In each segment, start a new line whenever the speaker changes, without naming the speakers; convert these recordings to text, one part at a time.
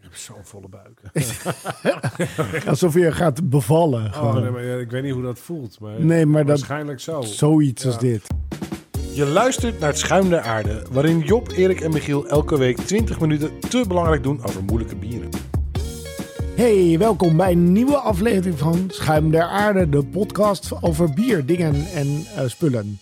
heb zo'n volle buik.
Alsof je gaat bevallen.
Oh,
Gewoon.
nee, maar ja, ik weet niet hoe dat voelt. Maar
Nee, maar dat-
waarschijnlijk zo.
Zoiets als
Ja.
dit.
Je luistert naar het Schuim der Aarde, waarin Job, Erik en Michiel elke week 20 minuten te belangrijk doen over moeilijke bieren.
Hey, welkom bij een nieuwe aflevering van Schuim der Aarde, de podcast over bier, dingen en eh, spullen.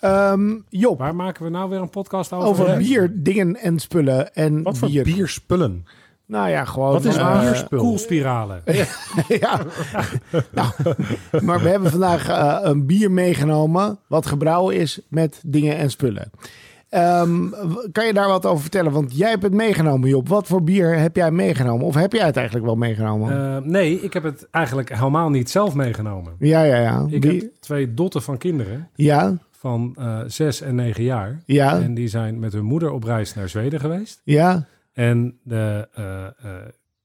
Ehm Job,
Waar maken we nou weer een podcast over?
over bier, dingen en spullen en
Wat voor
bier.
bierspullen?
Nou ja, gewoon.
Wat is een
eh,
bierspul?
Koelspiralen.
ja. nou, maar we hebben vandaag eh, een bier meegenomen wat gebrouwen is met dingen en spullen. Ehm, w- kan je daar wat over vertellen? Want jij hebt het meegenomen, Job. Wat voor bier heb jij meegenomen? Of heb jij het eigenlijk wel meegenomen?
Eh, nee, ik heb het eigenlijk helemaal niet zelf meegenomen.
ja, ja, ja.
Ik
Wie-
heb twee dotten van kinderen
Ja,
van eh, zes en negen jaar.
ja,
En die zijn met hun moeder op reis naar Zweden geweest.
ja,
En de eh, eh,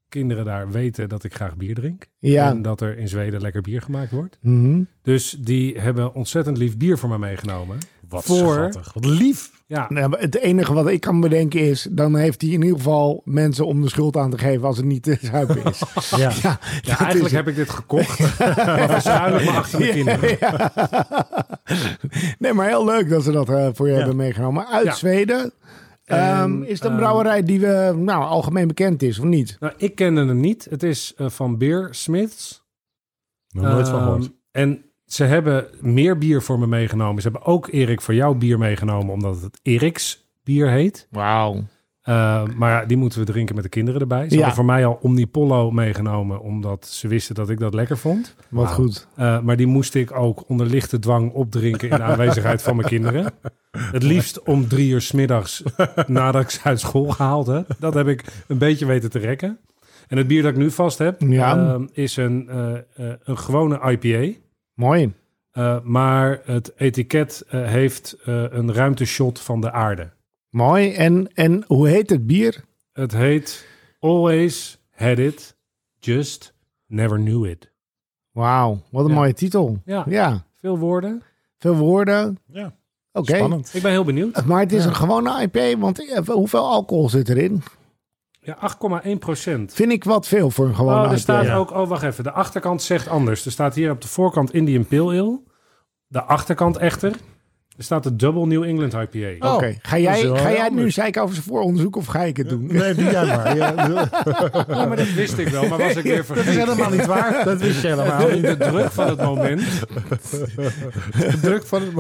kinderen daar weten dat ik graag bier drink.
ja.
En dat er in Zweden lekker bier gemaakt wordt.
Mhm.
Dus die hebben ontzettend lief bier voor me meegenomen.
Wat
Voor-
schattig. Wat lief.
Ja,
Nou, maar het enige wat ik kan bedenken is, dan heeft hij in ieder geval mensen om de schuld aan te geven als het niet te zuipen is.
Ja.
ja,
ja eigenlijk heb ik dit gekocht. maar verschuil ik me achter de kinderen.
Ja. Nee, maar heel leuk dat ze dat eh, voor je hebben meegenomen. Uit
Ja.
Zweden.
En,
Ehm, is het een
ehm,
brouwerij die we, nou, algemeen bekend is, of niet?
Nou, ik kende hem niet. Het is eh, van Beer Smiths.
Nog nooit van
Ehm,
gehoord.
En ze hebben meer bier voor me meegenomen. Ze hebben ook Erik voor jou bier meegenomen, omdat het Eriks bier heet.
Wauw.
Eh, maar ja, die moeten we drinken met de kinderen erbij. Ze
Ja.
hadden voor mij al Omnipollo meegenomen, omdat ze wisten dat ik dat lekker vond.
Wat goed.
Eh, maar die moest ik ook onder lichte dwang opdrinken in de aanwezigheid van mijn kinderen. Het liefst om drie uur 's middags nadat ik ze uit school gehaald heb. Dat heb ik een beetje weten te rekken. En het bier dat ik nu vast heb,
Ja.
ehm, is een, eh, eh, een gewone IPA.
Mooi.
Eh, maar het etiket eh, heeft eh, een ruimteshot van de aarde.
Mooi. En, en hoe heet het bier?
Het heet Always Had It, Just Never Knew It.
Wauw, wat een
Ja.
mooie titel.
Ja.
ja.
Veel woorden.
Veel woorden.
Ja.
Oké.
Spannend.
Ik ben heel benieuwd.
Maar het is een gewone IP, want eh, hoeveel alcohol zit erin?
Ja, 8,1 procent.
Vind ik wat veel voor een gewone
Oh, er
IPA.
staat
Ja.
ook... Oh, wacht even. De achterkant zegt anders. Er staat hier op de voorkant Indian Pale Ale. De achterkant echter. Er staat de Double New England IPA.
Oké. Ga jij,
is wel
ga
heel
jij het nu
anders.
zeiken over zijn vooronderzoek of ga ik het doen?
Nee, doe jij maar. Ja,
Ja, oh, maar dat wist ik wel, maar was ik weer
dat is
vergeten.
helemaal niet waar. Dat wist je helemaal
In de druk van het moment.
De druk van het,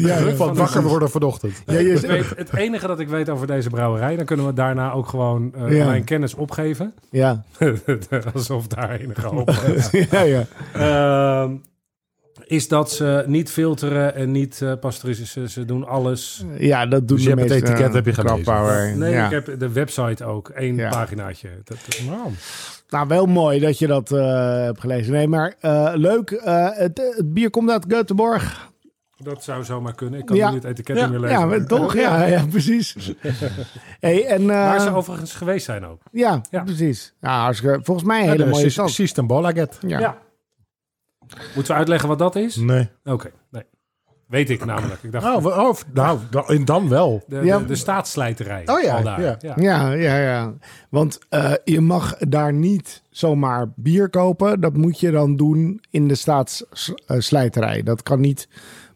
ja,
druk van
ja.
het wakker worden vanochtend.
Ja, je-
Ik weet het enige dat ik weet over deze brouwerij. Dan kunnen we daarna ook gewoon eh,
Ja.
mijn kennis opgeven.
ja.
Alsof daar enige hoop is.
ja, ja.
Ehm, is dat ze niet filteren en niet eh pasteuriseren. Ze doen alles.
Ja, dat doen
Dus
de
je hebt het
meeste,
etiket,
eh,
heb je gelezen?
krabbauer.
Nee,
ja.
ik heb de website ook. één
Ja.
paginaatje. Dat, dat- wow.
Nou, wel mooi dat je dat eh, hebt gelezen. Nee, maar eh, leuk. eh, het, het bier komt uit Göteborg.
Dat zou zomaar kunnen. Ik kan
Ja.
nu het etiket
Ja,
niet meer lezen. Eh,
Ja, maar toch? Ja, ja precies. Hey, en, eh,
Waar ze overigens geweest zijn ook.
ja,
Ja.
precies. Nou, hartstikke, volgens mij een hele
Ja,
mooie
precies-
stad.
Precies een bolaget.
Ja. Mm.
Ja. Moeten we uitleggen wat dat is?
Nee.
Oké, nee. Weet ik namelijk. Ik dacht,
Oh, we- oh, nou, da- en dan wel.
de,
ja.
de, de staatsslijterij.
Oh ja,
al daar.
ja.
Ja, ja, ja. Want eh, je mag daar niet zomaar bier kopen. Dat moet je dan doen in de staatsslijterij. Dat kan niet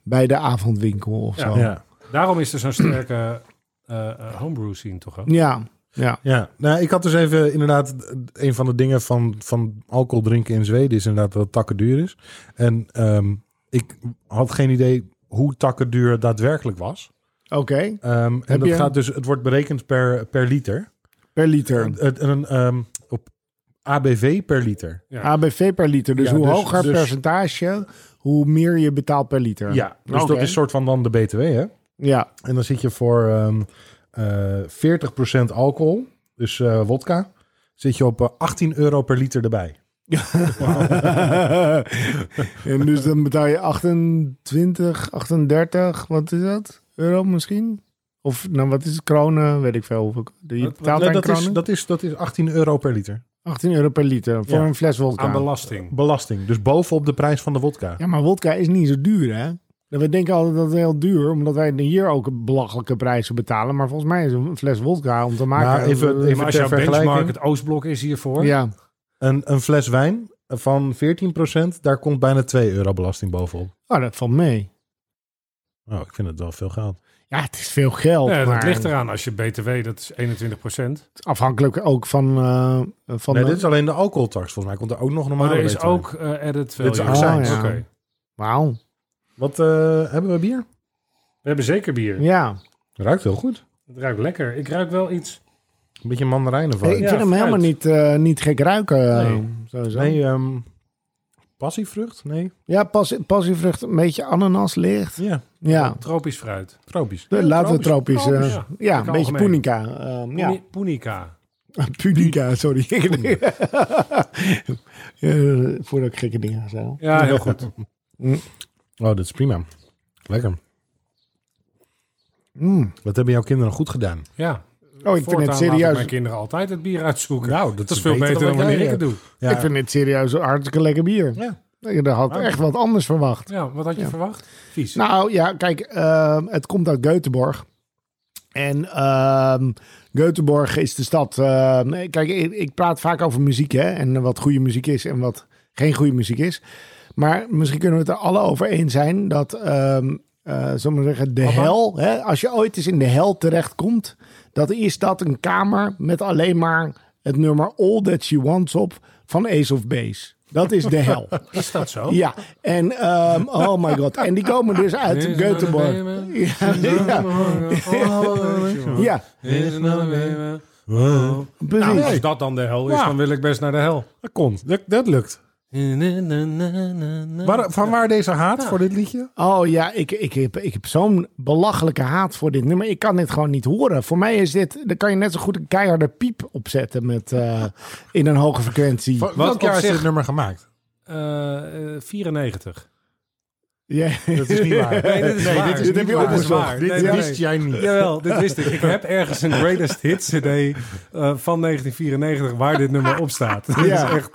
bij de avondwinkel of
Ja.
zo. Ja,
Ja.
Daarom is er zo'n sterke eh, eh, homebrew scene toch ook?
ja. ja.
Ja, nou, ik had dus even inderdaad een van de dingen van, van alcohol drinken in Zweden is inderdaad dat het takken duur is. En ehm, ik had geen idee hoe takken duur daadwerkelijk was.
Oké,
Ehm, en
Heb
dat
je-
gaat dus, het wordt berekend per, per liter.
per liter.
Het, een, ehm, op ABV per liter.
Ja.
ABV per liter. Dus
Ja,
hoe
dus-
hoger
dus-
percentage, hoe meer je betaalt per liter.
Ja, dus
Oké.
dat is soort van dan de BTW, hè?
Ja,
En dan zit je voor ehm eh 40% alcohol, dus eh wodka, zit je op eh, 18 euro per liter erbij.
en dus dan betaal je 28, 38, wat is dat? Euro misschien? Of nou, wat is het? Kronen, weet ik veel. hoeveel- Je
Wat-
betaalt
Nee,
aan
dat, is,
kronen?
dat, is, dat is 18 euro per liter.
18 euro per liter voor
Ja.
een fles
Aan
wodka.
belasting.
Belasting, dus bovenop de prijs van de wodka.
Ja, maar wodka is niet zo duur, hè? We denken altijd dat het heel duur, omdat wij hier ook belachelijke prijzen betalen. Maar volgens mij is een fles wodka om te maken...
Nou, even- even-
eh,
maar als
ter
jouw benchmark
vergelijking.
het Oostblok is hiervoor.
ja.
Een, een fles wijn van 14%, daar komt bijna 2 euro belasting bovenop.
Oh, dat valt mee.
Nou, ik vind het wel veel geld.
Ja, het is veel geld.
Ja, dat
maar
ligt eraan als je BTW, dat is 21
het is Afhankelijk ook van... eh, van
Nee,
de-
dit is alleen de alcoholtax. Volgens mij komt er ook nog
Maar
normale
Oh,
er is
BTW.
ook eh added
Dit is
value.
accijns.
Oké.
Ja. Wauw.
Wat eh, hebben we bier?
We hebben zeker bier.
Ja.
Ruikt heel goed.
Het ruikt lekker. Ik ruik wel iets.
Een beetje mandarijnen van.
ik
Ja,
vind hem helemaal
fruit.
niet, eh, niet gek ruiken. eh,
Nee.
Sowieso.
Nee, ehm passievrucht? Nee.
Ja, passie, passievrucht, een beetje ananas licht.
Ja,
Ja,
Tropisch fruit.
tropisch.
de, laten we tropisch. eh,
tropisch,
ja,
ja.
een
Lekker
beetje
algemeen.
punica. ehm, ja.
Puni- Punica.
Punica, sorry. Eh, Voordat ik gekke dingen ga zeggen.
Ja, heel goed.
Oh, dit is prima. Lekker.
Mm.
Wat hebben jouw kinderen goed gedaan?
Ja.
Oh, ik vind
Voortaan
het
laat ik
serieus.
mijn kinderen altijd het bier uitzoeken.
Nou,
dat is veel beter dan wanneer ik het doe.
Ja,
Ik vind het serieus een hartstikke lekker bier.
ja.
Ik had
Ja.
echt wat anders verwacht.
Ja, wat had je
Ja.
verwacht? Vies.
Nou ja, kijk, ehm, het komt uit Göteborg. En ehm Göteborg is de stad. ehm, kijk, ik, ik praat vaak over muziek hè, en wat goede muziek is en wat geen goede muziek is. Maar misschien kunnen we het er alle over eens zijn dat, ehm eh zullen we zeggen, de
Abba?
hel. Hè, als je ooit eens in de hel terechtkomt, dat is dat een kamer met alleen maar het nummer All That She Wants op van Ace of Base. Dat is de hel.
is dat zo?
Ja, en ehm, oh my god. En die komen dus uit
Here's
Göteborg.
another baby.
Ja, ja,
Oh,
ja,
Here's another baby.
precies.
Nou, als dat dan de hel is,
Ja.
dan wil ik best naar de hel.
Dat komt. Dat, dat lukt. Waar, van waar deze haat voor dit liedje?
Oh ja, ik, ik heb, ik heb zo'n belachelijke haat voor dit nummer. Ik kan dit gewoon niet horen. Voor mij is dit, daar kan je net zo goed een keiharde piep opzetten met, eh, in een hoge frequentie.
Wat,
Wat
welk
op
jaar is
zich-
dit nummer gemaakt?
Eh, eh, 94.
Ja.
Dat is niet waar.
Nee, dit is waar.
Dit heb je
waar.
opgezocht.
Dit is
Dit
waar. Nee, nee,
wist
nee.
jij niet.
Jawel, dit wist ik. Ik heb ergens een Greatest Hits CD eh, van 1994 waar dit nummer op staat. Dit
Ja.
is echt...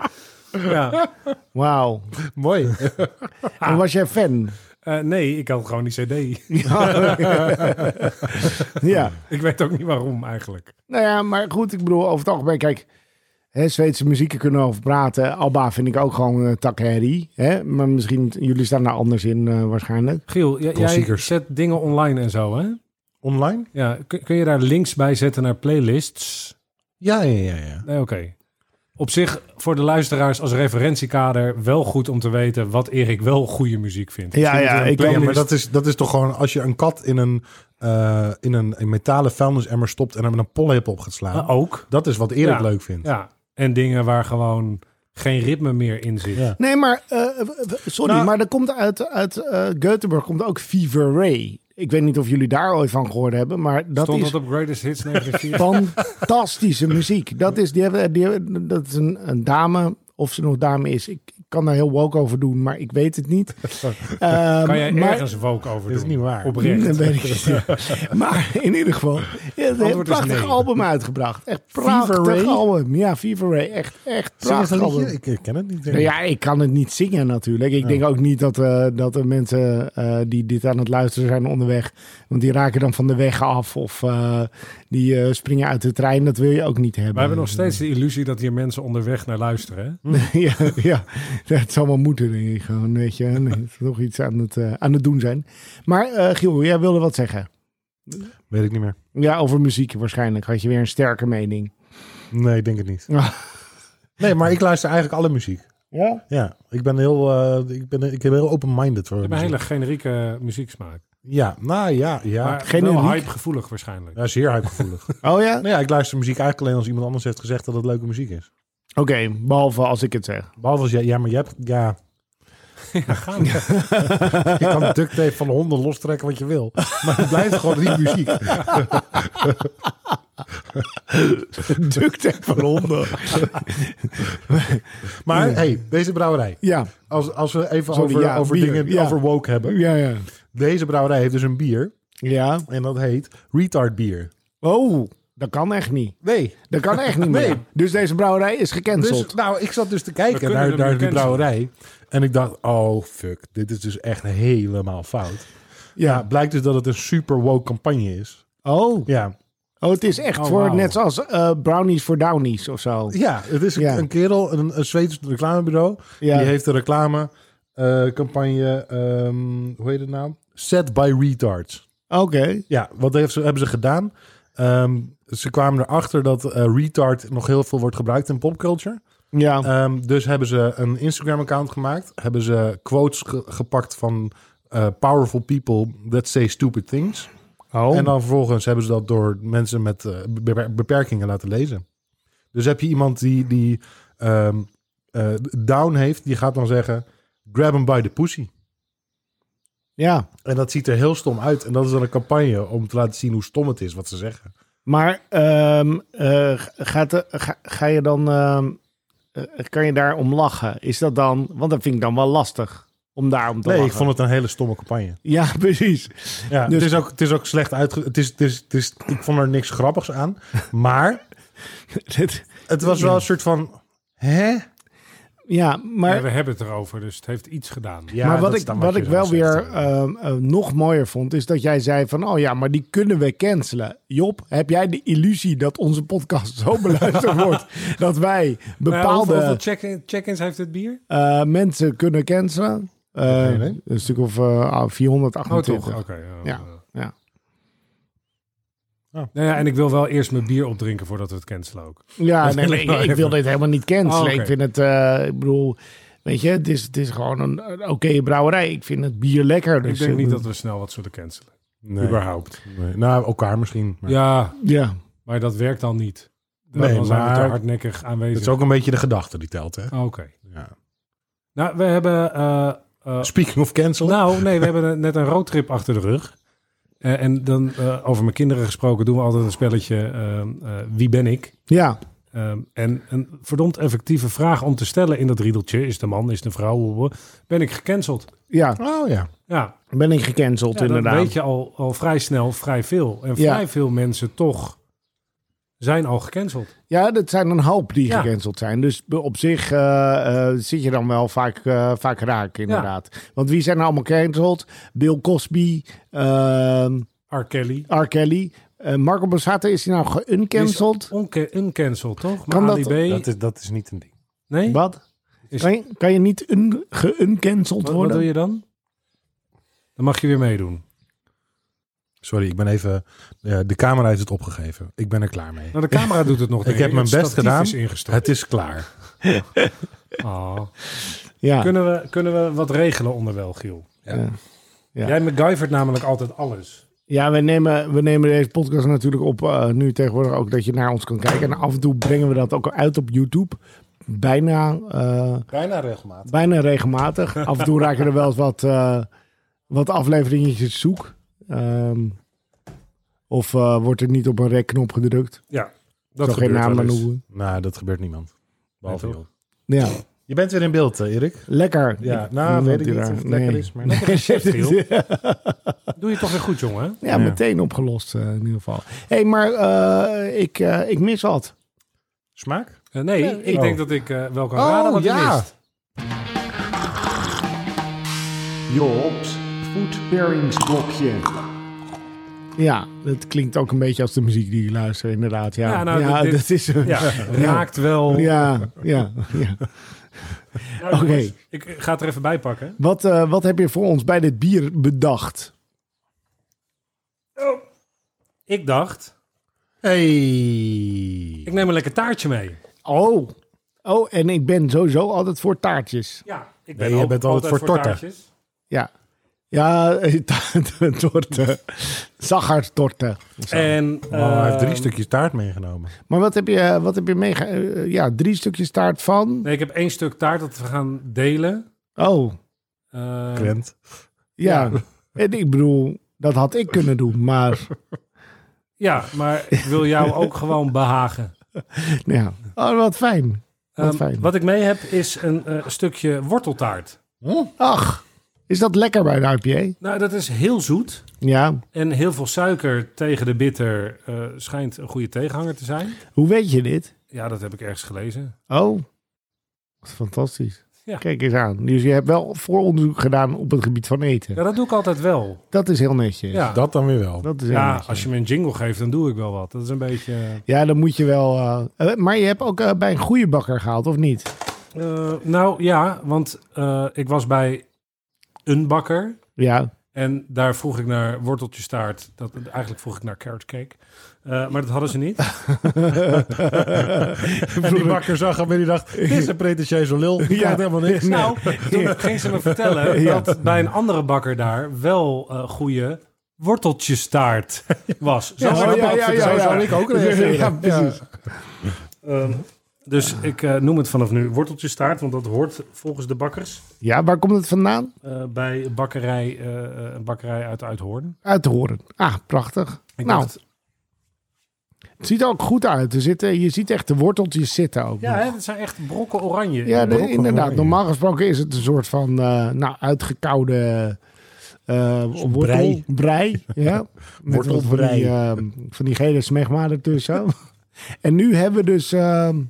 Ja.
Wauw.
Mooi.
En was jij fan?
Eh, nee, ik had gewoon die CD.
Ja. ja.
ik weet ook niet waarom eigenlijk.
Nou ja, maar goed, ik bedoel, over het algemeen, kijk, hè, Zweedse muzieken kunnen we over praten. Alba vind ik ook gewoon eh takherrie. Hè? Maar misschien, jullie staan daar anders in eh, waarschijnlijk.
Giel, j- jij
Klassiekers.
zet dingen online en zo, hè?
Online?
Ja, kun, kun je daar links bij zetten naar playlists?
Ja, ja, ja. ja.
Nee, oké. Op zich, voor de luisteraars als referentiekader... wel goed om te weten wat Erik wel goede muziek vindt.
Ja,
Misschien
ja,
moet er een
ik kan-
ja maar
playlist-
dat is, dat is toch gewoon als je een kat in een, eh, in een, een metalen vuilnisemmer stopt en hem met een pollepel op gaat slaan.
Maar Ah, ook.
Dat is wat Erik
Oh. Ja.
leuk vindt.
Ja, en dingen waar gewoon geen ritme meer in zit.
Ja.
Nee, maar, eh, w- w- sorry,
Nou-
maar er komt uit, uit eh, Göteborg komt ook Fever Ray. Ik weet niet of jullie daar ooit van gehoord hebben, maar dat
Stond
is
dat op Greatest Hits 1994?
fantastische muziek. Dat is, die hebben, die hebben- dat is een, een dame, of ze nog dame is. Ik kan daar heel woke over doen, maar ik weet het niet. Ehm,
kan jij
maar-
ergens een woke over doen?
Dit is niet waar.
Oprecht.
Dat weet ik niet. Maar in ieder geval, ja, het heeft een
Antwoord is
prachtig
nee.
album uitgebracht. Echt
Fever
prachtig
Ray?
album. Ja, Fever Ray. Echt, echt
Zing eens
prachtig
een liedje.
album.
Ik, ik ken het niet. denk ik.
Nou Ja, ik kan het niet zingen natuurlijk. Ik denk ook niet dat, eh, dat er mensen eh, die dit aan het luisteren zijn onderweg... want die raken dan van de weg af of eh, die eh, springen uit de trein. Dat wil je ook niet hebben.
We hebben nog steeds de illusie dat hier mensen onderweg naar luisteren. hè?
ja, ja, het zal wel moeten, denk ik. Gewoon, weet je, Nee, toch iets aan het, eh, aan het doen zijn. Maar eh, Giel, jij wilde wat zeggen.
Weet ik niet meer.
Ja, over muziek waarschijnlijk. Had je weer een sterke mening.
Nee, ik denk het niet.
Ah.
Nee, maar ik luister eigenlijk alle muziek.
Ja?
Ja, ik ben heel, eh, ik ben, ik ben heel open-minded. voor
We hebben een hele
muziek.
generieke muzieksmaak.
Ja, nou ja, ja.
Maar
generiek.
wel hypegevoelig waarschijnlijk.
ja zeer hypegevoelig.
Oh ja?
nou ja, ik luister muziek eigenlijk alleen als iemand anders heeft gezegd dat het leuke muziek is.
Oké, behalve als ik het zeg.
Behalve als jij, ja, maar jij hebt, ja,
Ja, gaan we.
je kan duct tape van honden lostrekken wat je wil. Maar het blijft gewoon die muziek.
Duct tape van honden.
Maar hey, deze brouwerij.
Ja,
Als, als we even
Sorry,
over,
ja,
over
bier,
dingen
ja.
over woke hebben.
ja, ja.
Deze brouwerij heeft dus een bier.
Ja.
En dat heet retard bier.
Oh, Dat kan echt niet.
Nee.
Dat kan echt niet meer.
Nee.
Dus deze brouwerij is gecanceld.
Dus, nou, ik zat dus te
We
kijken
kunnen
naar,
hem
naar die
cancelen.
brouwerij. En ik dacht, oh fuck, dit is dus echt helemaal fout. Ja,
ja.
blijkt dus dat het een super woke campagne is.
Oh.
Ja,
oh, het is echt
Oh,
voor
wauw.
net zoals eh, brownies voor downies of zo.
ja het is een-
Ja.
een kerel, een, een Zweeds reclamebureau.
Ja.
Die heeft een reclamecampagne, ehm, hoe heet het nou? Set by Retards.
Oké.
Ja, wat heeft ze, hebben ze gedaan? Ehm, ze kwamen erachter dat eh, retard nog heel veel wordt gebruikt in popculture.
Ja.
Ehm, dus hebben ze een Instagram-account gemaakt. Hebben ze quotes ge- gepakt van eh, powerful people that say stupid things.
oh.
En dan vervolgens hebben ze dat door mensen met eh, be- beperkingen laten lezen. Dus heb je iemand die, die ehm, eh, down heeft, die gaat dan zeggen... grab him by the pussy.
ja.
En dat ziet er heel stom uit. En dat is dan een campagne om te laten zien hoe stom het is wat ze zeggen.
Maar ehm, eh, gaat, de- ga, ga je dan, ehm, eh, kan je daar om lachen? Is dat dan, want dat vind ik dan wel lastig om daar om te
Nee, ik
lachen.
vond het een hele stomme campagne.
Ja, precies.
Ja,
Dus-
het, is ook, het is ook slecht uitge... Het is, het is, het is, ik vond er niks grappigs aan. Maar
Dit-
het was wel een soort van... Hè?
ja, maar,
Ja, we hebben het erover, dus het heeft iets gedaan.
Ja,
maar
dat
wat
is
ik,
dan
wat
je
ik
dan
wel
zegt.
weer ehm, eh, nog mooier vond, is dat jij zei van, oh ja, maar die kunnen we cancelen. Job, heb jij de illusie dat onze podcast zo beluisterd wordt, dat wij
Nou, hoeveel-
bepaalde
hoeveel check- check-ins heeft dit bier?
eh, mensen kunnen cancelen? Eh,
geen idee.
Een stuk of eh
Oh,
428.
toch? Oké. ja.
Ja. Ja. Oh.
Nou ja, en ik wil wel eerst mijn bier opdrinken voordat we het cancelen ook.
Ja,
Dat
nee,
wil
maar
ik
ik,
wel
ik
even.
wil dit helemaal niet cancelen.
Oh, oké.
Ik vind het, eh, ik bedoel, weet je, het is, het is gewoon een, een oké brouwerij. Ik vind het bier lekker. Dus
ik denk
eh,
niet dat we snel wat zullen cancelen.
Nee.
Überhaupt.
Nee. Nou, elkaar misschien. Maar
Ja,
Ja,
maar dat werkt dan niet. Dan,
Nee,
dan zijn we
maar-
te hardnekkig aanwezig. Ah,
Het is ook een beetje de gedachte die telt, hè?
Oké.
Ja.
Nou, we hebben... eh, eh,
Speaking of cancel.
nou, nee, we hebben een- net een roadtrip achter de rug. Eh, en dan, eh, over mijn kinderen gesproken, doen we altijd een spelletje ehm, eh, Wie ben ik?
ja,
Ehm, en een verdomd effectieve vraag om te stellen in dat riedeltje. Is de man, is de vrouw? hoe- hoe- Ben ik gecanceld?
ja.
Oh ja.
Ja,
Ben ik gecanceld
Ja, dan
inderdaad.
weet je al, al vrij snel vrij veel. En
Ja.
vrij veel mensen toch zijn al gecanceld.
Ja, dat zijn een hoop die
Ja.
gecanceld zijn. Dus be- op zich eh, eh, zit je dan wel vaak, eh, vaak raak inderdaad. Want wie zijn er allemaal gecanceld? Bill Cosby, ehm,
R. Kelly.
R. Kelly. eh, Marco Borsato is hij nou geuncanceld?
Onca- uncancelled, toch? Maar
Kan
Ali
dat-
B.
Dat is, dat is niet een ding.
nee? Wat,
Wat?
Is-
Kan, je, kan je niet un, geuncanceld
wat
worden?
doe je dan? Dan mag je weer meedoen.
Sorry, ik ben even... eh, de camera heeft het opgegeven. Ik ben er klaar mee.
Nou, de camera doet het nog. denk
heb mijn
Het
best
statief
gedaan.
Is ingestort.
Het is klaar.
Ah.
Ja.
Kunnen, we, kunnen we wat regelen onderwel, Giel?
Ja.
Ja. Ja.
Jij MacGyvert namelijk altijd alles.
Ja, we nemen, we nemen deze podcast natuurlijk op eh, nu tegenwoordig ook dat je naar ons kan kijken. En af en toe brengen we dat ook uit op YouTube. Bijna, eh,
Bijna regelmatig.
bijna regelmatig. Af en toe raken er wel eens wat, eh, wat afleveringetjes zoek. Ehm, of eh, wordt er niet op een rekknop gedrukt.
Ja,
Dat
dat
geen
gebeurt
namen
wel eens.
noemen.
Nou, dat gebeurt niemand. Behalve
Nee,
jou.
Ja,
Je bent weer in beeld, eh, Erik.
lekker.
Ja, nou,
Niemand
weet ik
die
niet of
daar-
het lekker
nee.
is, maar...
Lekker gescheft, Giel. Doe je toch weer goed, jongen.
Ja, meteen opgelost eh, in ieder geval. Hé, hey, maar eh, ik, eh, ik mis wat.
Smaak?
Eh, nee,
Nee,
ik
oh.
denk dat ik eh, wel kan raden wat je mist.
Jobs voetberingsblokje. Ja, dat klinkt ook een beetje als de muziek die je luistert, inderdaad. Ja,
Ja, nou,
ja
dit-
dat is... Ja,
Ja, raakt wel.
ja, ja.
Nou,
oké.
jongens, Ik ga het er even bij pakken.
Wat, eh, wat heb je voor ons bij dit bier bedacht?
Ik dacht,
Hey.
ik neem een lekker taartje mee.
Oh. Oh, en ik ben sowieso altijd voor taartjes.
Ja, ik
Nee, jij bent altijd voor torten.
taartjes.
Ja. Ja, eh, taart- torten. Zaggartorten.
En
Oh, hij heeft
ehm,
drie stukjes taart meegenomen.
Maar wat heb je, wat heb je meege... eh, ja, drie stukjes taart van...
Nee, ik heb één stuk taart dat we gaan delen.
Oh,
Eh,
Krent.
ja. En ik bedoel, dat had ik kunnen doen, maar...
ja, maar ik wil jou ook gewoon behagen.
Ja. Oh, wat fijn. Wat
Ehm,
fijn.
wat ik mee heb is een eh, stukje worteltaart.
Ach, Is dat lekker bij een IPA?
Nou, dat is heel zoet.
Ja.
En heel veel suiker tegen de bitter eh, schijnt een goede tegenhanger te zijn.
Hoe weet je dit?
Ja, dat heb ik ergens gelezen.
Oh, wat fantastisch.
Ja.
Kijk eens aan. Dus je hebt wel vooronderzoek gedaan op het gebied van eten.
Ja, dat doe ik altijd wel.
Dat is heel netjes.
Ja,
Dat dan weer wel.
Dat is heel
ja
netjes.
als je me een jingle geeft, dan doe ik wel wat. Dat is een beetje...
Ja, dan moet je wel. eh, eh, maar je hebt ook eh, bij een goede bakker gehaald, of niet?
eh, nou ja, want eh, ik was bij een bakker.
Ja.
En daar vroeg ik naar worteltjestaart. Dat, eigenlijk vroeg ik naar carrot cake. Eh, maar dat hadden ze niet.
En die bakker zag hem en die dacht, dit is een pretentieuze lul. Die
Ja.
krijgt helemaal niks.
Nou, toen ging ze me vertellen
Ja.
dat bij een andere bakker daar wel eh goede worteltjestaart was. Zo
Ja,
zou
oh,
dat
ja, ja,
ook-
ja,
zo
ja.
zou ik-
ik ook reageren.
Ja, precies.
Ehm, Dus ik eh, noem het vanaf nu worteltjestaart, want dat hoort volgens de bakkers
Ja, waar komt het vandaan?
eh, bij bakkerij, eh, een bakkerij uit Uithoorn.
Uit te horen. Ah, prachtig.
Ik
nou,
dacht-
het ziet er ook goed uit. Er zitten, je ziet echt de worteltjes zitten ook.
ja,
nog.
hè, dat zijn echt brokken oranje.
ja de-
brokken
inderdaad.
oranje.
Normaal gesproken is het een soort van eh, nou, uitgekoude eh wortel.
brei.
Brei, ja. Met wat van
Wortelbrei.
die, ehm, van die gele smegma ertussen. en nu hebben we dus ehm,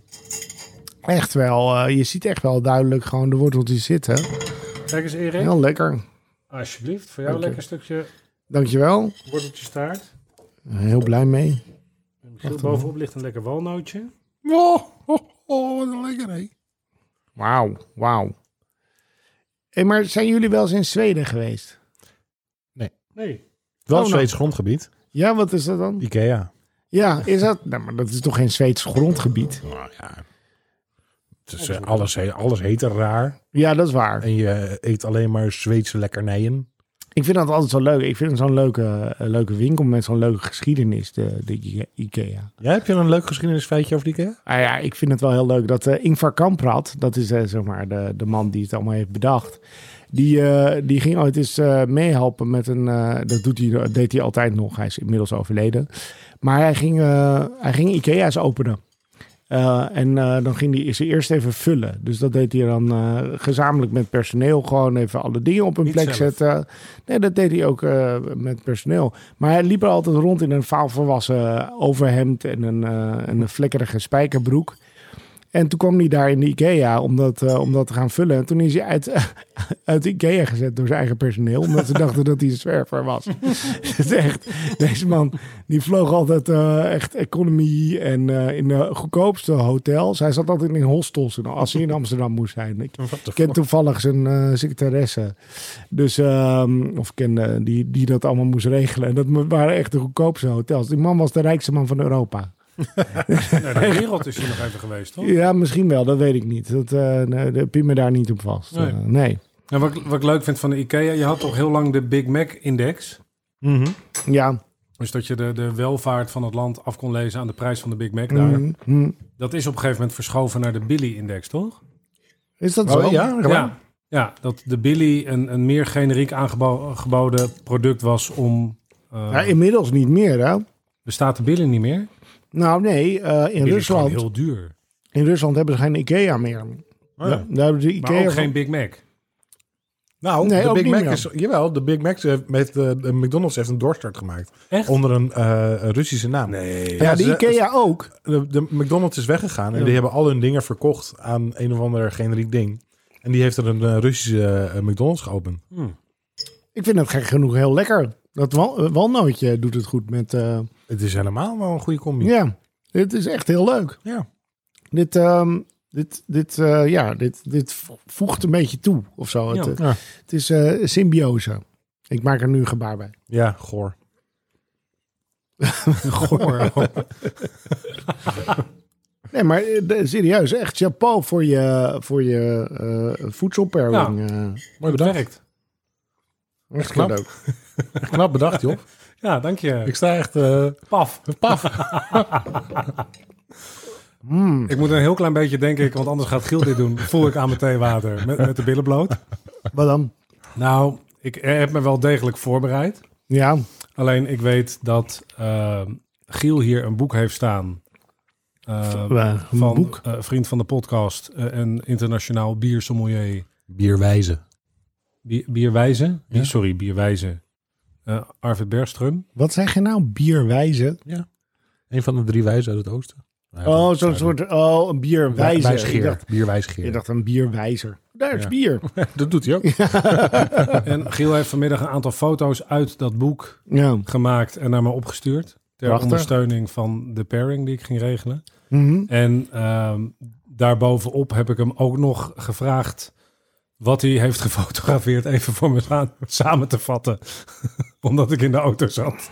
echt wel... eh, je ziet echt wel duidelijk gewoon de worteltjes zitten.
Kijk eens, Erik.
Heel lekker.
Alsjeblieft, voor jou
Oké.
lekker stukje
Dankjewel.
worteltjestaart.
Heel blij mee.
En bovenop ligt een lekker walnootje.
Oh, oh, oh, wat een lekker hè.
Wauw, wauw. Hey, maar zijn jullie wel eens in Zweden geweest?
Nee.
Wel
Oh, nou.
Zweeds grondgebied.
Ja, wat is dat dan?
Ikea.
Ja, is dat? Nou, maar dat is toch geen Zweeds grondgebied?
Nou ja. Het is, eh, alles, he- alles heet er raar.
Ja, dat is waar.
En je eet alleen maar Zweedse lekkernijen.
Ik vind dat altijd zo leuk. Ik vind het zo'n leuke, eh, leuke winkel met zo'n leuke geschiedenis, de, de Ike- Ikea.
Ja, heb je een leuk geschiedenisfeitje over Ikea?
Ah ja, ik vind het wel heel leuk dat eh Ingvar Kamprad, dat is eh, zeg maar de, de man die het allemaal heeft bedacht, die, eh, die ging ooit eens eh, meehelpen met een, eh, dat doet hij, dat deed hij altijd nog, hij is inmiddels overleden. Maar hij ging, eh, hij ging Ikea's openen. Eh, en eh, dan ging hij ze eerst even vullen. Dus dat deed hij dan eh, gezamenlijk met personeel. Gewoon even alle dingen op hun
Niet
plek
zelf.
zetten. Nee, dat deed hij ook eh, met personeel. Maar hij liep er altijd rond in een vaalvolwassen overhemd en een, eh, en een vlekkerige spijkerbroek. En toen kwam hij daar in de Ikea om dat, eh, om dat te gaan vullen. En toen is hij uit, uit de Ikea gezet door zijn eigen personeel. Omdat ze dachten dat hij een zwerver was. Het is echt, deze man die vloog altijd eh, echt economy en eh, in de goedkoopste hotels. Hij zat altijd in hostels en al, als hij in Amsterdam moest zijn. Ik ken toevallig zijn eh secretaresse. Dus, ehm, of kende die, die dat allemaal moest regelen. En dat mo- waren echt de goedkoopste hotels. Die man was de rijkste man van Europa.
Nou, de wereld is hier nog even geweest, toch?
Ja, misschien wel, dat weet ik niet. Dat eh nee, de- pin me daar niet op vast.
Nee.
Eh, nee.
En wat, ik- wat ik leuk vind van de IKEA, je had toch heel lang de Big Mac-index.
Mhm.
Ja.
Dus dat je de, de welvaart van het land af kon lezen aan de prijs van de Big Mac daar.
Mm, mm.
Dat is op een gegeven moment verschoven naar de Billy-index, toch?
Is dat zo?
Oh, ja, ja.
Ja. Ja, dat de Billy een, een meer generiek aangeboden product was om... eh,
Ja, inmiddels niet meer, hè?
bestaat de Billy niet meer?
Nou, nee. eh, in,
Billy is gewoon
Rusland,
heel duur.
in Rusland hebben ze geen Ikea meer.
Oh,
Ja,
ja.
daar hebben ze
Maar
Ikea
ook geen Big Mac.
Nou,
Nee,
de
ook
Big
niet
Mac
meer.
is... Jawel, de Big Mac heeft met de, de McDonald's heeft een doorstart gemaakt.
Echt?
Onder een eh, Russische naam.
Nee.
Ja, de
ze-
Ikea ook.
De, de McDonald's is weggegaan en die hebben al hun dingen verkocht aan een of ander generiek ding. En die heeft er een eh, Russische eh, McDonald's geopend.
Ik vind dat gek genoeg heel lekker. Dat wal- eh, walnootje doet het goed met... eh,
Het is helemaal wel een goede combi.
ja, dit is echt heel leuk.
Hm. Ja.
Dit, ehm, dit, dit, eh, ja, dit, dit vo- voegt een beetje toe of zo.
Ja.
Het, eh,
Ja.
het is eh, symbiose. Ik maak er nu een gebaar bij.
Ja, goor.
Goor.
Oh,
nee, maar eh, de- serieus, echt chapeau voor je, voor je eh voedselperwing. eh.
Mooi
Dat
bedacht.
werkt.
echt
knap.
leuk.
Knap bedacht, joh.
Ja, dank je.
Ik sta echt eh,
Paf.
paf.
Mm.
Ik moet een heel klein beetje denken, want anders gaat Giel dit doen. Voel ik aan mijn theewater met, met de billen bloot.
Wat dan?
Nou, ik heb me wel degelijk voorbereid.
Ja,
Alleen ik weet dat eh, Giel hier een boek heeft staan. eh,
Waar? Een
van
boek?
eh, vriend van de podcast eh, en internationaal biersommelier
Bierwijze.
Bier, bierwijze.
Ja.
Sorry, bierwijze. Eh Arvid Bergström.
Wat zeg je nou? Bierwijze?
Een van de drie wijzen uit het oosten. Nou ja,
Oh,
dat
zo'n
is-
soort... Oh, een bierwijze. Ik dacht,
Wijsgeer. Bierwijsgeer.
ik dacht een bierwijzer. Daar is
Ja.
bier.
Dat doet hij ook.
En Giel heeft vanmiddag een aantal foto's uit dat boek
Ja.
gemaakt en naar me opgestuurd. Ter
Prachtig.
ondersteuning van de pairing die ik ging regelen.
Mhm.
En ehm, daarbovenop heb ik hem ook nog gevraagd wat hij heeft gefotografeerd. Even voor me sa- samen te vatten. Omdat ik in de auto zat.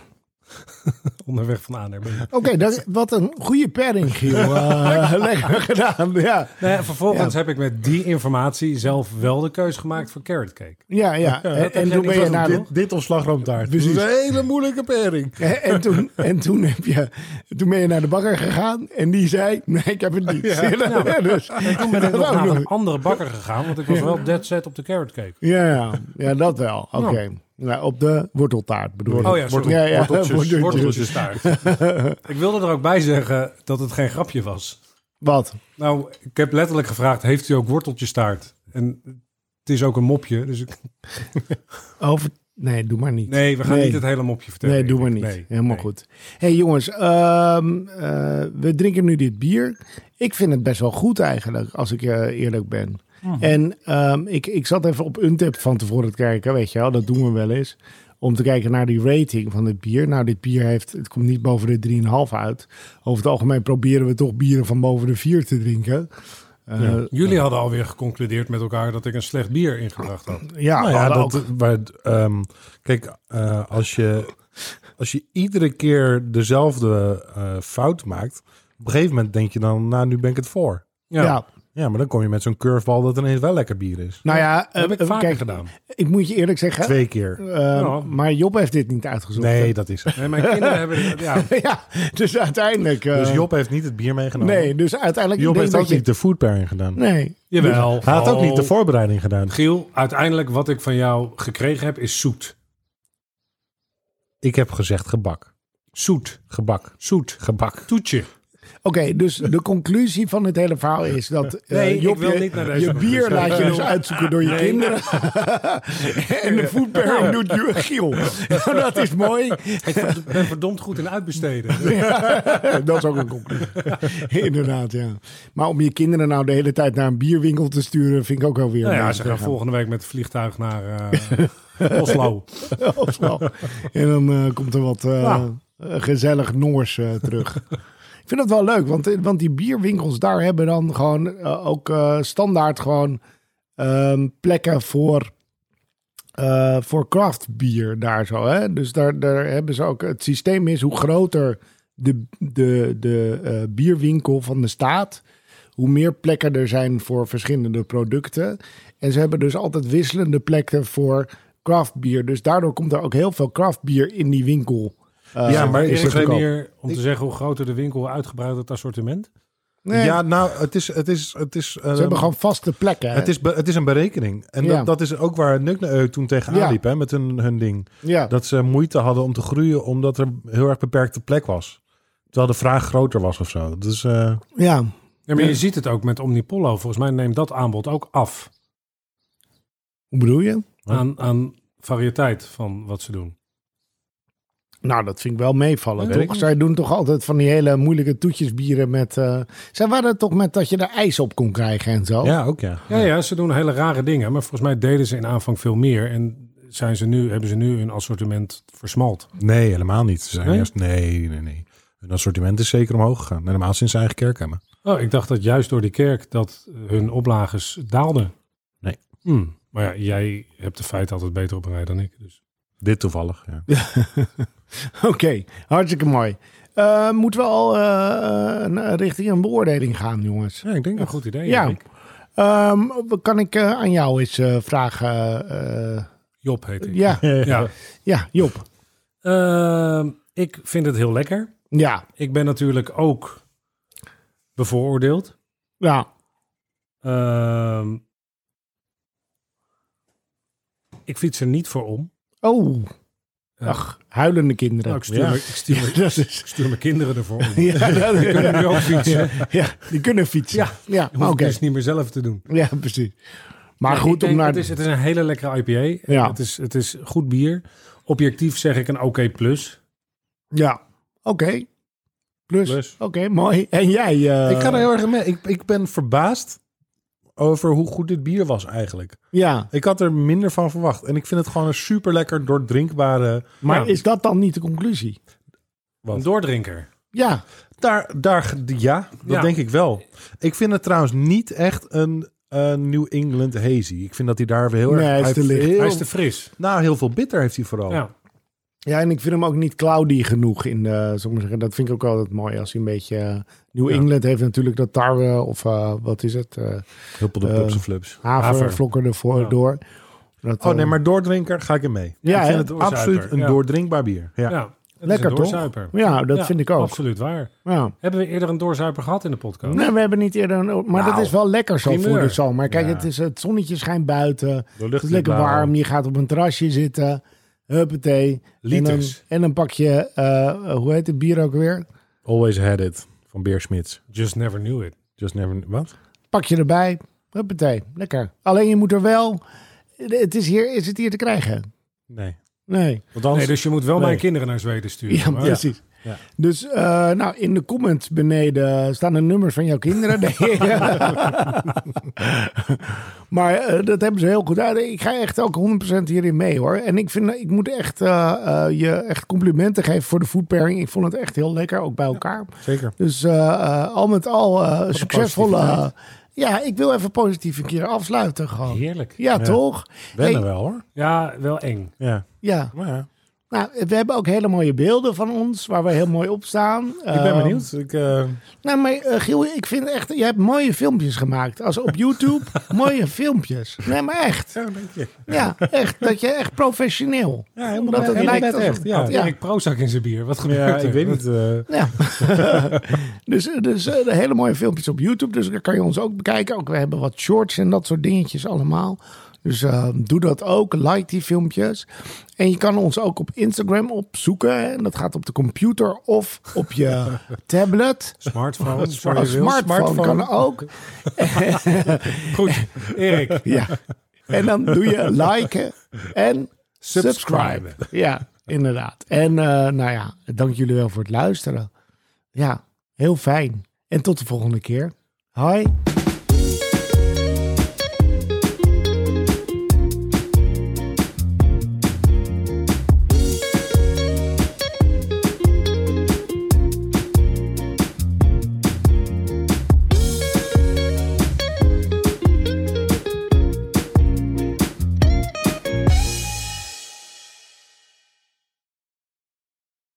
Onderweg van A naar B. Nou
Oké, dat- wat een goede pairing, Giel. Eh, lekker gedaan. Ja,
Nou ja, vervolgens heb ik met die informatie zelf wel de keus gemaakt voor carrot cake.
ja. ja. En, en
jij
toen
niet
ben je
van
naar...
dit-
Dit of slagroomtaart.
Precies.
Dat is een hele moeilijke pairing.
En en toen, en toen, heb je, toen ben je naar de bakker gegaan en die zei, nee, ik heb het niet. Ja, dus,
En toen ben ik nog
Nou,
naar
doe.
een andere bakker gegaan, want ik was wel dead set op de carrot cake.
ja, ja, ja, dat wel. Oké. Nou, op de worteltaart bedoel ik.
Oh ja, sorry.
Ja, ja,
Worteltjes.
Worteltjes
worteltjes.
taart. ik wilde er ook bij zeggen dat het geen grapje was.
Wat?
Nou, ik heb letterlijk gevraagd, heeft u ook worteltjestaart? En het is ook een mopje, dus ik...
Over... Nee, doe maar niet.
Nee, we gaan
Nee.
niet het hele mopje vertellen.
Nee, doe maar
denk
niet.
ik. Nee,
Helemaal
nee.
goed. hey, jongens, ehm, eh, we drinken nu dit bier. Ik vind het best wel goed eigenlijk, als ik eh, eerlijk ben.
Mhm.
En ehm, ik, ik zat even op Untap van tevoren te kijken, weet je wel. Dat doen we wel eens. Om te kijken naar die rating van dit bier. Nou, dit bier heeft, het komt niet boven de 3,5 uit. Over het algemeen proberen we toch bieren van boven de 4 te drinken. Eh, ja,
Jullie hadden alweer geconcludeerd met elkaar dat ik een slecht bier ingebracht had.
Nou ja,
hadden
dat,
ook-
maar, ehm, kijk, eh, als, je, als je iedere keer dezelfde eh, fout maakt, op een gegeven moment denk je dan, nou, nu ben ik het voor.
Ja,
ja.
Ja, maar dan kom je met zo'n curvebal dat ineens wel lekker bier is.
nou ja,
dat heb
eh,
ik vaker
kijk,
gedaan.
ik moet je eerlijk zeggen,
Twee keer.
ehm,
Ja.
maar Job heeft dit niet uitgezocht. hè?
Nee, dat is het.
Nee, mijn kinderen hebben... Ja,
ja, dus uiteindelijk. eh,
Dus Job heeft niet het bier meegenomen.
Nee, dus uiteindelijk.
Job
ik
heeft
denk
ook
dat
niet de food pairing gedaan.
je- Nee.
jawel.
Hij had ook niet de
Oh.
voorbereiding gedaan.
Giel, uiteindelijk wat ik van jou gekregen heb is zoet.
Ik heb gezegd gebak.
Zoet.
Gebak.
Zoet.
Gebak.
Toetje.
Oké, dus de conclusie van dit hele verhaal is dat. eh,
Nee, ik
Job,
wil
je,
niet naar deze
Je bier
conclusie.
laat je dus
Nee.
uitzoeken door je
Nee.
kinderen. en de food pairing doet je Giel. Nou, dat is mooi.
Ik ben verdomd goed in uitbesteden.
dat is ook een conclusie. Inderdaad, ja. Maar om je kinderen nou de hele tijd naar een bierwinkel te sturen, vind ik ook wel weer.
Nou
een
ja,
beetje
ze gaan
gaan.
volgende week met het vliegtuig naar eh, Oslo.
Of zo. En dan eh, komt er wat eh,
Ja.
eh, gezellig Noors eh, terug. Ik vind dat wel leuk, want, eh, want die bierwinkels daar hebben dan gewoon eh, ook eh, standaard gewoon ehm, plekken voor, eh voor craft bier daar zo. Hè? Dus daar, daar hebben ze ook, het systeem is hoe groter de, de, de eh, bierwinkel van de staat, hoe meer plekken er zijn voor verschillende producten. En ze hebben dus altijd wisselende plekken voor craft bier. Dus daardoor komt er ook heel veel craft bier in die winkel. Eh,
Ja, maar is
Is
het
er
ook al-
hier om te zeggen hoe groter de winkel, hoe uitgebreid het assortiment?
nee,
Ja, nou, het is... Het is, het is eh,
ze hebben
Ehm,
gewoon vaste plekken. hè?
het is, be- het is een berekening. En
Ja.
dat, dat is ook waar Nuk toen tegenaan
Ja.
liep hè, met hun, hun ding.
ja.
Dat ze moeite hadden om te groeien omdat er heel erg beperkte plek was. Terwijl de vraag groter was of zo. Dus eh,
ja,
Ja, maar je ziet het ook met Omnipollo. Volgens mij neemt dat aanbod ook af
hoe bedoel je?
aan, aan variëteit van wat ze doen.
Nou, dat vind ik wel meevallen,
Ja, weet ik
toch? Zij doen toch altijd van die hele moeilijke toetjesbieren met... eh, zij waren het toch met dat je er ijs op kon krijgen en zo?
ja, ook ja.
Ja, ja, ze doen hele rare dingen, maar volgens mij deden ze in aanvang veel meer en zijn ze nu, hebben ze nu hun assortiment versmalt.
Nee, helemaal niet. Ze zijn
Nee?
juist, nee, nee, nee. Hun assortiment is zeker omhoog gegaan. Helemaal sinds ze eigen kerk hebben.
Oh, ik dacht dat juist door die kerk dat hun oplages daalden.
Nee.
Hmm. Maar ja, jij hebt de feiten altijd beter op een rij dan ik. Dus.
Dit toevallig, ja.
Oké, hartstikke mooi. Eh, moeten we al eh, eh, richting een beoordeling gaan, jongens?
ik denk
Een goed idee.
Ja.
Erik.
Ehm, kan ik eh, aan jou eens eh, vragen? eh, eh,
Job heet ik.
ja,
ja.
ja, Job.
Ehm, ik vind het heel lekker.
Ja,
Ik ben natuurlijk ook bevooroordeeld.
ja.
Ehm, ik fiets er niet voor om.
Oh,
Ja.
ach, huilende kinderen.
Nou, ik, stuur
Ja.
me- ik, stuur me-
dat is...
ik stuur mijn kinderen ervoor om. Die
Ja, dat is...
kunnen nu ook fietsen.
Ja, die kunnen fietsen. dus-
Ja.
Ja,
Dat hoef
oké.
ik dus niet meer zelf te doen.
Ja, precies. Maar
Nee, ik
goed, om
denk,
naar...
het, is, het is een hele lekkere IPA.
Ja.
Het, is, het is goed bier. Objectief zeg ik een oké plus.
Ja, oké. Plus,
Plus.
oké, mooi. En jij? eh,
ik kan er heel erg mee. Ik, ik ben verbaasd over hoe goed dit bier was eigenlijk.
Ja,
Ik had er minder van verwacht. En ik vind het gewoon een super lekker doordrinkbare.
maar
Ja.
is dat dan niet de conclusie?
Wat?
Een doordrinker.
Ja,
Daar, daar, ja, dat
Ja.
denk ik wel. Ik vind het trouwens niet echt een eh, New England hazy. Ik vind dat hij daar heel erg...
Nee, hij is Oh. te
heeft
licht.
heel-
Hij is te fris.
Nou, heel veel bitter heeft hij vooral.
Ja.
Ja, en ik vind hem ook niet cloudy genoeg in de, zal ik maar zeggen. Dat vind ik ook altijd mooi als hij een beetje... eh, New
Ja.
England heeft natuurlijk dat tarwe of eh, wat is het? eh
Huppelde
Eh,
pups en flups.
haver,
Haver.
vlokken ervoor
Ja.
door. Dat,
Oh nee,
eh,
maar doordrinker ga ik in mee.
Ja,
ik
hè?
vind het
Doorzuiper,
absoluut een
ja.
doordrinkbaar bier. Ja.
Ja. Het
Lekker,
is een
toch?
doorzuiper.
Ja, dat
Ja,
vind ik ook.
Absoluut waar.
Ja.
Hebben we eerder een doorzuiper gehad in de podcast?
Nee, we hebben niet eerder... Een, maar dat
Nou,
is wel lekker zo
primeur.
voor de zomer. Kijk,
Ja.
het, is, het zonnetje schijnt buiten.
De lucht
Het is lekker
blauw.
warm. Je gaat op een terrasje zitten. Huppatee.
Liters.
En dan, en dan pak je, eh, hoe heet het bier ook weer?
Always had it van Beersmits.
Just never knew it.
Just never... Wat?
Pak je erbij. Huppatee. Lekker. Alleen je moet er wel... Het is, hier, is het hier te krijgen?
Nee.
Nee.
Want anders...
Nee, dus je moet wel
Nee.
mijn kinderen naar Zweden sturen.
Ja,
maar-
precies.
Ja.
Dus eh, nou, in de comments beneden staan de nummers van jouw kinderen. Nee. maar eh, dat hebben ze heel goed uit. Ik ga echt ook 100% hierin mee hoor. En ik, vind, ik moet echt, eh, eh, je echt complimenten geven voor de food pairing. Ik vond het echt heel lekker, ook bij elkaar.
Zeker.
Dus eh, eh, al met al eh, succesvolle... eh,
positiviteit.
ja, ik wil even positief een keer afsluiten gewoon. Ja,
Heerlijk.
toch?
Wennen
Hey,
wel hoor.
Ja, wel eng.
Ja.
ja.
Maar ja.
Nou, we hebben ook hele mooie beelden van ons, waar we heel mooi op staan. Ehm,
Ik ben benieuwd. Ik, eh,
Nou, maar eh, Giel, ik vind echt, je hebt mooie filmpjes gemaakt. Als op YouTube, mooie filmpjes. Nee, maar echt.
ja, dank je.
Ja, echt. Dat je echt professioneel.
Ja, helemaal
Omdat
net-
het
helemaal
lijkt
net
alsof-
echt, ja.
Had Erik Prozac in zijn bier. Wat gebeurt
Ja,
er?
ik weet niet. eh,
Ja. dus dus eh, hele mooie filmpjes op YouTube. Dus daar kan je ons ook bekijken. Ook, we hebben wat shorts en dat soort dingetjes allemaal. Dus eh, doe dat ook. Like die filmpjes. En je kan ons ook op Instagram opzoeken. En dat gaat op de computer of op je tablet.
Smartphone.
Een
sorry, Wil.
smartphone, kan ook.
Goed, Erik.
Ja. En dan doe je liken en
Subscriben.
subscriben. Ja, inderdaad. En eh, nou ja, dank jullie wel voor het luisteren. Ja, heel fijn. En tot de volgende keer. Hoi.